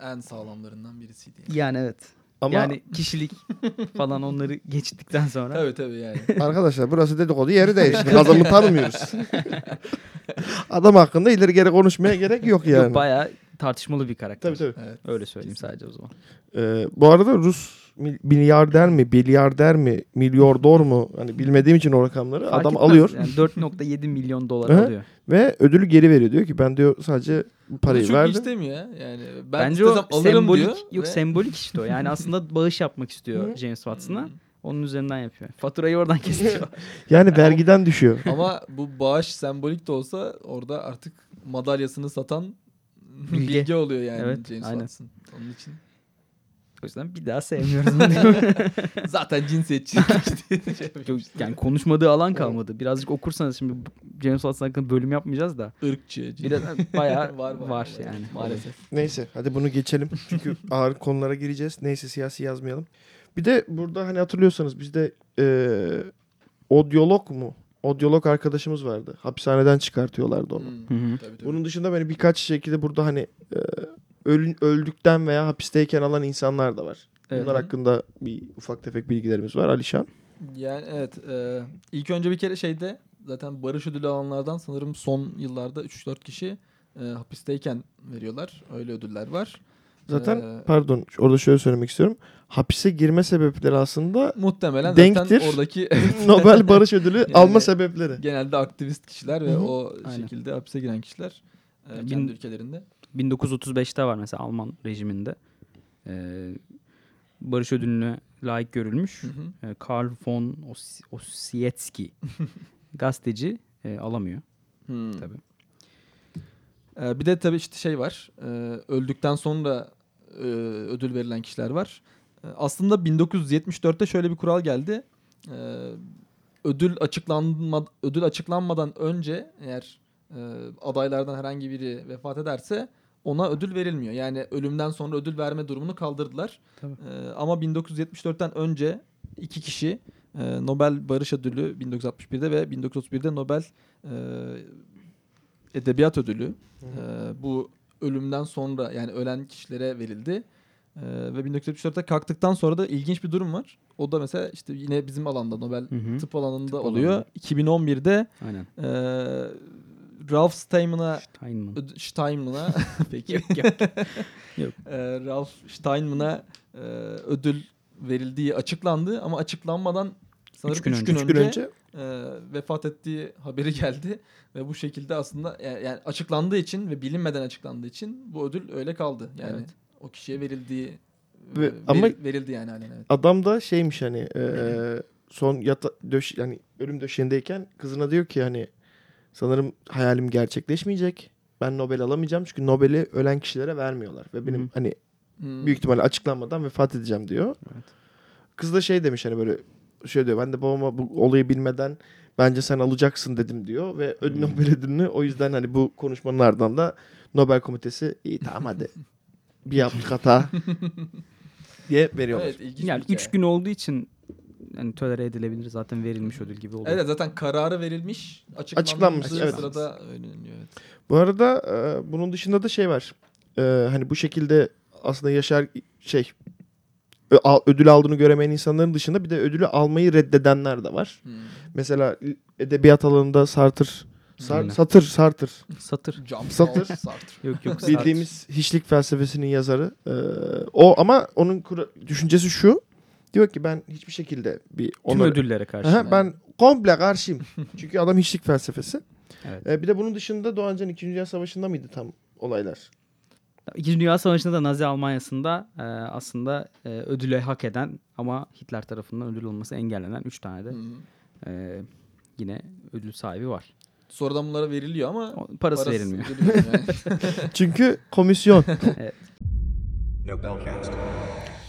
I: en sağlamlarından birisiydi. Yani.
H: yani evet.
G: ama
H: Yani kişilik falan onları geçtikten sonra.
I: Tabii tabii yani.
G: arkadaşlar burası dedikodu yeri değil. Şimdi adamı tanımıyoruz. Adam hakkında ileri geri konuşmaya gerek yok yani.
H: Yok, bayağı tartışmalı bir karakter.
G: Tabii tabii.
I: Evet.
H: Öyle söyleyeyim sadece o zaman.
G: Ee, bu arada Rus mil- milyarder mi, milyarder mi, milyordor mu? Hani bilmediğim için o rakamları
H: Fark
G: adam
H: etmez.
G: alıyor
H: Yani 4.7 milyon dolar
G: Hı hı.
H: alıyor.
G: ve ödülü geri veriyor. Diyor ki ben diyor sadece parayı
I: Parayı çok
G: verdim.
I: istemiyor ya. Yani ben
H: Bence
I: istesem
H: o
I: alırım
H: sembolik,
I: diyor.
H: yok
I: ve-
H: sembolik işte o. Yani aslında bağış yapmak istiyor James Watson'a. Onun üzerinden yapıyor. Faturayı oradan kesiyor.
G: Yani vergiden düşüyor.
I: Ama bu bağış sembolik de olsa orada artık madalyasını satan
H: Bilge.
I: bilge, oluyor yani
H: Evet,
I: James
H: aynen.
I: Watson. Onun için.
H: o yüzden bir daha sevmiyoruz onu diyor.
I: Zaten cinsiyetçilik diye şey
H: Yok,
I: yapmış.
H: yani konuşmadığı alan kalmadı. Birazcık okursanız şimdi James Watson hakkında bölüm yapmayacağız da.
I: Irkçı. cins-
H: Biraz bayağı var,
I: Var, var, var.
H: yani.
I: Maalesef.
G: Neyse hadi bunu geçelim. Çünkü ağır konulara gireceğiz. Neyse siyasi yazmayalım. Bir de burada hani hatırlıyorsanız bizde eee odyolog mu? Odyolog arkadaşımız vardı. Hapishaneden çıkartıyorlardı onu.
I: Hmm,
H: Hı hı.
I: tabii, tabii.
G: Bunun dışında böyle birkaç şekilde burada hani eee, ölün, öldükten veya hapisteyken alan insanlar da var.
H: Evet.
G: Bunlar hakkında bir ufak tefek bilgilerimiz var. Alişan.
I: Yani evet. e, ilk önce bir kere şeyde zaten barış ödülü alanlardan sanırım son yıllarda 3-4 kişi e, hapisteyken veriyorlar. Öyle ödüller var.
G: Zaten
I: Ee,
G: pardon orada şöyle söylemek istiyorum. Hapise girme sebepleri aslında
I: Muhtemelen
G: Denktir.
I: zaten oradaki
G: Nobel Barış Ödülü
I: Yani-
G: alma sebepleri.
I: genelde aktivist kişiler ve
G: Hı hı.
I: o
H: Aynen.
I: şekilde hapse giren kişiler e,
H: Bin-
I: kendi ülkelerinde.
H: 1935'te var mesela Alman rejiminde. Ee, barış ödülüne layık görülmüş.
I: Hı hı.
H: Ee, Karl von Os- Ossietzky gazeteci e, alamıyor. Tabii.
I: Ee, bir de tabii işte şey var. Ee, öldükten sonra e, ödül verilen kişiler var. Ee, aslında 1974'te şöyle bir kural geldi. Ee, ödül açıklanma ödül açıklanmadan önce eğer e, adaylardan herhangi biri vefat ederse ona ödül verilmiyor. Yani ölümden sonra ödül verme durumunu kaldırdılar.
H: Tabii.
I: Ee, ama 1974'ten önce iki kişi e, Nobel Barış Ödülü 1961'de ve 1931'de Nobel e, Edebiyat Ödülü ee, bu ölümden sonra yani ölen kişilere verildi. Ee, ve 1974'te kalktıktan sonra da ilginç bir durum var. O da mesela işte yine bizim alanda Nobel
H: Hı hı.
I: tıp alanında
H: Tıp
I: oluyor.
H: alanında.
I: 2011'de
H: Aynen.
I: e, Ralph Steinman'a
H: Steinman.
I: Öd- Steinman'a peki.
H: Yok.
I: Ee, Ralph Steinman'a e, ödül verildiği açıklandı ama açıklanmadan sanırım
H: Üç
I: 3
H: gün
I: gün,
H: önce.
G: Üç gün
I: önce
G: önce
I: e, vefat ettiği haberi geldi ve bu şekilde aslında ya- yani açıklandığı için ve bilinmeden açıklandığı için bu ödül öyle kaldı. Yani
H: Evet.
I: o kişiye verildiği
G: Ve-
I: ve,
G: ama-
I: verildi yani halen evet.
G: adam da şeymiş hani eee, son yata döş yani ölüm döşeğindeyken kızına diyor ki hani sanırım hayalim gerçekleşmeyecek. ben Nobel alamayacağım çünkü Nobel'i ölen kişilere vermiyorlar. Ve benim
H: Hı.
G: hani
I: Hmm.
G: büyük ihtimalle açıklanmadan vefat edeceğim diyor. Kız da şey demiş hani böyle şey diyor ben de babama bu olayı bilmeden bence sen alacaksın dedim diyor ve ödül Nobel ödülünü o yüzden hani bu konuşmanın ardından da Nobel komitesi iyi tamam hadi bir yaptık hata diye veriyorlar.
I: Evet ilginç
H: Yani
I: bir
H: 3
I: hikaye.
H: gün olduğu için yani tolere edilebilir zaten verilmiş ödül gibi oluyor.
I: Evet zaten kararı verilmiş.
G: Açıklanmış,
I: Açıklanmış.
G: evet.
I: Sırada öğreniliyor. Evet.
G: Bu arada e, bunun dışında da şey var. E, hani bu şekilde aslında yaşar şey ö- al- ödül aldığını göremeyen insanların dışında bir de ödülü almayı reddedenler de var.
I: Hmm.
G: Mesela edebiyat alanında Sartre Sar-
H: Aynen.
G: Satır Sartre
H: Satır.
I: Jump
G: Satır.
I: out, Sartre.
H: Yok yok.
G: bildiğimiz hiçlik felsefesinin yazarı. E, o ama onun kura- düşüncesi şu. Diyor ki ben hiçbir şekilde bir
H: Tüm
G: onları-
H: ödüllere karşı.
G: Aha, ben komple karşıyım. Çünkü adam hiçlik felsefesi.
H: Evet.
G: E, bir de bunun dışında Doğan Can 2. Dünya Savaşı'nda mıydı tam olaylar?
H: İkinci Dünya Savaşı'nda da Nazi Almanya'sında e, aslında e, ödüle hak eden ama Hitler tarafından ödül olması engellenen 3 tane de
I: Hmm.
H: e, yine ödül sahibi var.
I: Sonradan bunlara veriliyor ama
H: O- Parası, verilmiyor.
I: veriliyor yani.
G: Çünkü komisyon.
H: Evet.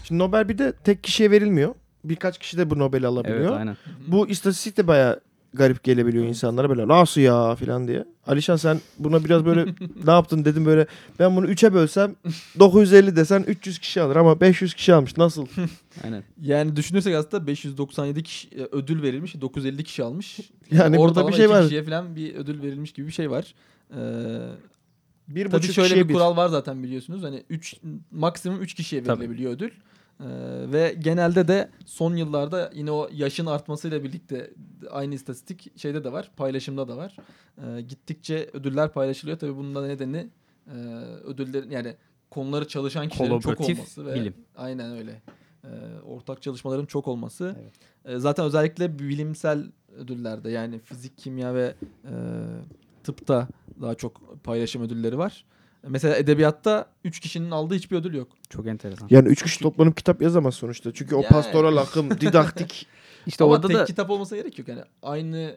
G: Şimdi Nobel bir de tek kişiye verilmiyor. Birkaç kişi de bu Nobel'i
H: Evet
G: alabiliyor.
H: aynen.
G: bu istatistik de bayağı garip gelebiliyor insanlara böyle nasıl ya falan diye. Alişan sen buna biraz böyle ne yaptın dedim böyle ben bunu 3'e bölsem 950 desen 300 kişi alır ama 500 kişi almış nasıl?
H: aynen.
I: Yani düşünürsek aslında 597 kişi e, ödül verilmiş, 950 kişi almış.
G: Yani burada
I: Ortalama
G: bir şey
I: iki
G: var.
I: kişiye falan bir ödül verilmiş gibi bir şey var. Ee,
G: Bir
I: tabii
G: buçuk
I: şöyle
G: kişiye
I: bir
G: bir.
I: kural var zaten biliyorsunuz. Hani 3 maksimum 3 kişiye
H: Tabii.
I: verilebiliyor ödül. Ee, ve genelde de son yıllarda yine o yaşın artmasıyla birlikte aynı istatistik şeyde de var, paylaşımda da var. Ee, gittikçe ödüller paylaşılıyor. Tabii bunun da nedeni e, ödüllerin yani konuları çalışan kişilerin çok
H: Kolaboratif
I: olması ve
H: bilim.
I: aynen öyle. Ee, ortak çalışmaların çok olması. Ee, zaten özellikle bilimsel ödüllerde yani fizik, kimya ve e, tıpta daha çok paylaşım ödülleri var. Mesela edebiyatta 3 kişinin aldığı hiçbir ödül yok.
H: Çok enteresan.
G: Yani 3 kişi toplanıp kitap yazamaz sonuçta. Çünkü o
I: Yani.
G: pastoral akım, didaktik.
H: İşte
I: Ama
H: orada
I: tek
H: da
I: kitap olmasa gerek yok yani. Aynı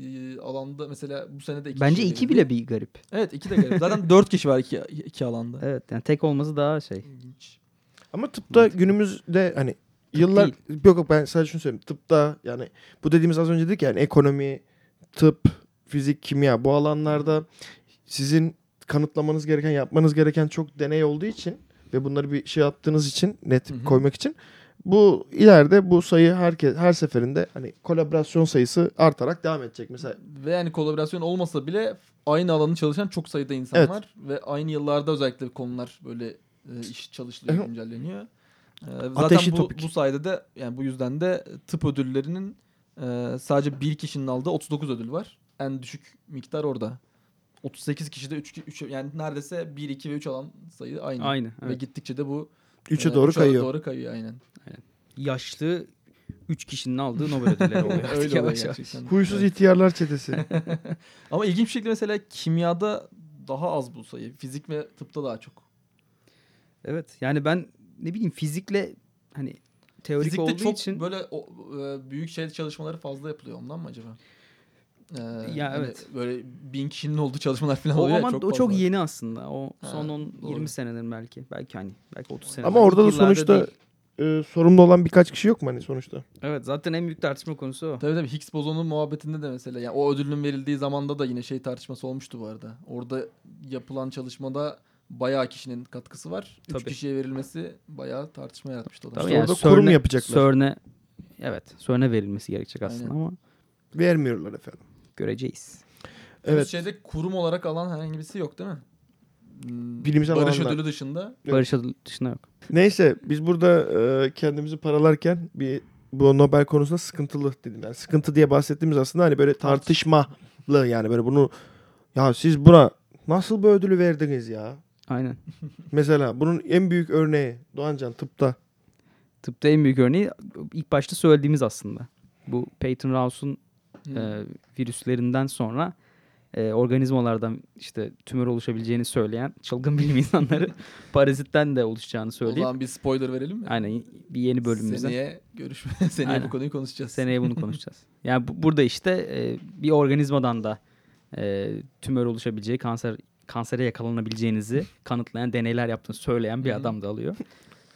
I: e, alanda mesela bu sene de iki
H: bence
I: kişiye
H: iki
I: verildi.
H: bile bir garip.
I: Evet iki de garip. Zaten dört kişi var iki, iki alanda.
H: Evet yani tek olması daha şey.
I: İlginç.
G: Ama tıpta günümüzde hani yıllar yok yok ben sadece şunu söyleyeyim. Tıpta yani bu dediğimiz az önce dedik ya, yani ekonomi, tıp, fizik, kimya bu alanlarda sizin kanıtlamanız gereken, yapmanız gereken çok deney olduğu için ve bunları bir şey yaptığınız için net
I: Hı hı.
G: koymak için bu ileride bu sayı herkes her seferinde hani kolaborasyon sayısı artarak devam edecek mesela.
I: Ve yani kolaborasyon olmasa bile aynı alanı çalışan çok sayıda insan
G: Evet.
I: var. Ve aynı yıllarda özellikle konular böyle e, iş çalışılıyor,
G: Evet.
I: güncelleniyor. E,
G: Ateşli
I: zaten bu,
G: topik.
I: bu sayede de yani bu yüzden de tıp ödüllerinin e, sadece bir kişinin aldığı 39 ödül var. En düşük miktar orada. 38 kişide 3, 3 yani neredeyse 1, 2 ve 3 alan sayı aynı.
H: Aynı.
I: Ve
H: Evet.
I: gittikçe de bu
G: 3'e
I: e,
G: doğru
I: üçe
G: kayıyor.
I: doğru kayıyor aynen.
H: Yaşlı 3 kişinin aldığı Nobel ödülleri oluyor. artık
I: Öyle oluyor
H: yavaş yavaş.
I: gerçekten.
G: Huysuz
I: Evet.
G: ihtiyarlar çetesi.
I: Ama ilginç bir şekilde mesela kimyada daha az bu sayı. Fizik ve tıpta daha çok.
H: Evet yani ben ne bileyim fizikle hani teorik
I: Fizikte
H: olduğu
I: çok
H: için
I: böyle o, e, büyük şey çalışmaları fazla yapılıyor ondan mı acaba? Ee,
H: Ya evet.
I: Böyle bin kişinin olduğu çalışmalar falan
H: o
I: oluyor. ya,
H: ama o çok
I: fazla.
H: yeni aslında. O
I: Ha,
H: son 10
I: doğru.
H: 20 senedir belki. Belki hani belki 30 senedir.
G: Ama orada da
H: İlk yıllarda
G: sonuçta
H: değil.
G: e, sorumlu olan birkaç kişi yok mu hani sonuçta?
H: Evet zaten en büyük tartışma konusu o.
I: Tabii tabii Higgs bozonu muhabbetinde de mesela yani o ödülün verildiği zamanda da yine şey tartışması olmuştu bu arada. Orada yapılan çalışmada bayağı kişinin katkısı var. Üç
H: Tabii.
I: kişiye verilmesi bayağı tartışma yaratmıştı. o da.
H: Tabii
G: İşte orada kurum
H: CERN'e-
G: yapacaklar.
H: CERN'e evet CERN'e verilmesi gerekecek aslında
I: Aynen.
H: ama
G: Vermiyorlar efendim.
H: göreceğiz.
I: Evet.
G: Evet.
I: Şeyde kurum olarak alan herhangi birisi yok değil mi? Hmm,
G: Bilimsel
I: Barış
G: alanlar.
I: ödülü dışında.
G: Evet.
H: Barış adı dışında yok.
G: Neyse biz burada e, kendimizi paralarken bir bu Nobel konusunda sıkıntılı dedim. Yani sıkıntı diye bahsettiğimiz aslında hani böyle tartışmalı yani böyle bunu ya siz buna nasıl bu ödülü verdiniz ya?
H: Aynen.
G: Mesela bunun en büyük örneği Doğancan tıpta.
H: Tıpta en büyük örneği ilk başta söylediğimiz aslında. Bu Peyton Rouse'un
I: Hmm.
H: e, virüslerinden sonra e, organizmalardan işte tümör oluşabileceğini söyleyen çılgın bilim insanları parazitten de oluşacağını
I: O
H: söyleyip
I: zaman bir spoiler verelim mi?
H: aynen bir yeni bölümümüzde seneye,
I: Seneye görüşme. Seneye
H: Aynen.
I: bu konuyu konuşacağız.
H: bunu konuşacağız. Yani bu- burada işte e, bir organizmadan da e, tümör oluşabileceği, kanser kansere yakalanabileceğinizi kanıtlayan deneyler yaptığını söyleyen bir adam da alıyor.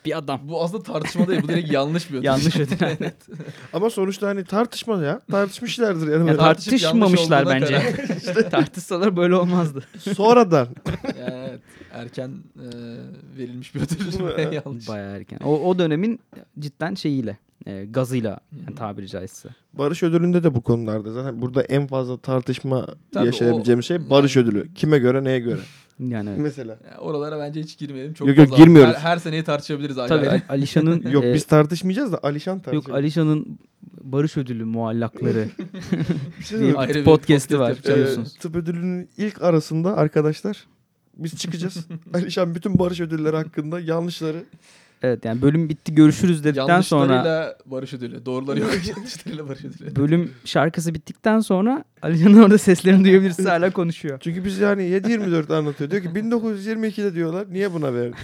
H: Bir adam.
I: Bu aslında tartışma değil. Bu direkt yanlış bir ödül.
H: Yanlış ödül, evet.
I: Evet.
G: Ama sonuçta hani tartışma ya. Tartışmışlardır yani.
H: Ya
G: böyle.
I: tartışıp
H: tartışmamışlar
I: yanlış olduğuna
H: bence. Tartışsalar böyle olmazdı.
G: Sonradan.
I: Yani evet. Erken e, verilmiş bir ödül. yanlış.
H: Bayağı erken. O, o dönemin cidden şeyiyle, e, gazıyla yani tabiri caizse.
G: Barış ödülünde de bu konularda zaten burada en fazla tartışma
I: Tabii
G: yaşayabileceğim şey barış ödülü. Kime göre neye göre.
H: Yani evet.
G: Mesela.
I: Yani oralara bence hiç girmeyelim. Çok
G: Yok, yok,
I: fazla-
G: girmiyoruz.
I: Her, her seneyi tartışabiliriz. ayrı
H: Tabii
I: ayrı.
H: Al- Alişan'ın
G: Yok
H: e,
G: biz tartışmayacağız da Alişan tartışıyor.
H: yok Alişan'ın Barış Ödülü muallakları
G: Bir şey
H: diye
G: söyleyeyim.
I: Ayrı bir
H: podcast'i
I: podcast
H: var
I: yapacağız.
H: biliyorsunuz.
G: Ee, tıp ödülünün ilk arasında arkadaşlar biz çıkacağız. Alişan bütün barış ödülleri hakkında yanlışları.
H: Evet yani bölüm bitti görüşürüz dedikten sonra
I: Yanlışlarıyla barış ödülü. Doğruları yok. Yanlışlarıyla barış ödülü.
H: bölüm şarkısı bittikten sonra Alican'ın orada seslerini duyabilirsiniz hala konuşuyor.
G: Çünkü biz yani 7-24 anlatıyor. Diyor ki 1922'de diyorlar. Niye buna verdi?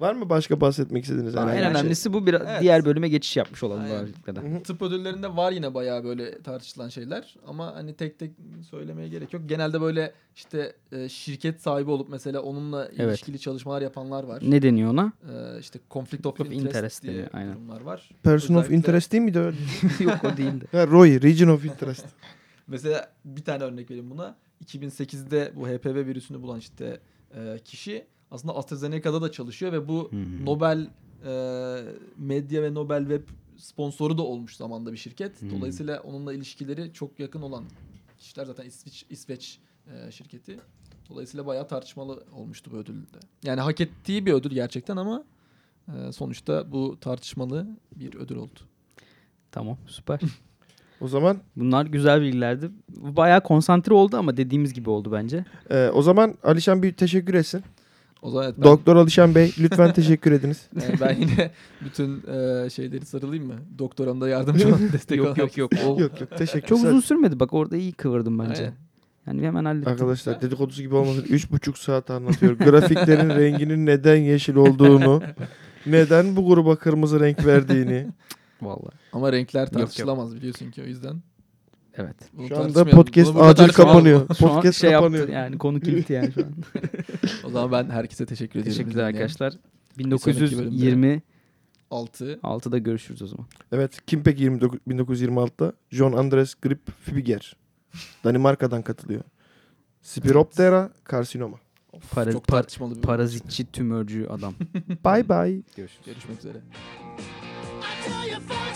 G: Var mı başka bahsetmek istediğiniz herhangi bir
H: en
G: şey?
H: önemlisi bu biraz
I: Evet.
H: diğer bölüme geçiş yapmış olalım
I: Aynen.
H: böylelikle de.
I: Tıp ödüllerinde var yine bayağı böyle tartışılan şeyler ama hani tek tek söylemeye gerek yok. Genelde böyle işte e, şirket sahibi olup mesela onunla
H: Evet.
I: ilişkili çalışmalar yapanlar var.
H: Ne deniyor ona?
I: E, işte conflict
H: Conflict
I: of
H: of
I: interest,
H: interest
I: diye
H: deniyor, aynen.
I: durumlar var.
G: Person of
I: Özellikle-
G: interest değil miydi öyle?
H: Yok o değildi.
G: Ha, Roy, region of interest.
I: Mesela bir tane örnek vereyim buna. 2008'de bu HPV virüsünü bulan işte e, kişi aslında AstraZeneca'da da çalışıyor ve bu Nobel e, Medya ve Nobel Web sponsoru da olmuş zamanda bir şirket. Dolayısıyla onunla ilişkileri çok yakın olan kişiler zaten İsveç, İsveç e, şirketi. Dolayısıyla bayağı tartışmalı olmuştu bu ödülde. Yani hak ettiği bir ödül gerçekten ama e, sonuçta bu tartışmalı bir ödül oldu.
H: Tamam süper.
G: O zaman
H: Bunlar güzel bilgilerdi. Bayağı konsantre oldu ama dediğimiz gibi oldu bence.
G: e, o zaman Alişan bir teşekkür etsin.
I: O zaman evet, ben-
G: Doktor Alişan Bey lütfen teşekkür ediniz.
I: Yani ben yine bütün e, şeyleri sarılayım mı? Doktoramda yardımcı olan destek
H: Yok yok yok. O,
G: yok yok teşekkür
H: Çok uzun sürmedi bak orada iyi kıvırdım bence.
I: Aynen.
H: Yani hemen hallettim.
G: Arkadaşlar dedikodusu gibi olmasın. Üç buçuk saat anlatıyor. Grafiklerin renginin neden yeşil olduğunu, neden bu gruba kırmızı renk verdiğini.
H: Vallahi.
I: Ama renkler tartışılamaz biliyorsun ki o yüzden.
H: Evet.
I: Bunu
G: Şu anda
I: tartışmayalım.
G: podcast
I: Bunu burada
G: acil
I: tartışmayalım.
G: kapanıyor.
H: Şu an
G: Podcast
H: şey
G: kapanıyor.
H: yaptı yani konu kilitli yani şu an.
I: O zaman ben herkese teşekkür ediyorum.
H: Teşekkürler arkadaşlar.
I: sonraki bölümde.
H: 1926'da
I: 6.
H: görüşürüz o zaman.
G: Evet. Kim peki 29 1926'da? John Andres Grip Fibiger. Danimarka'dan katılıyor. Spiroptera karsinoma.
H: Para-
I: çok
H: par-
I: tartışmalı bir
H: parazitçi tümörcü adam.
G: Bye bye.
I: Görüşmek üzere.
J: I tell you first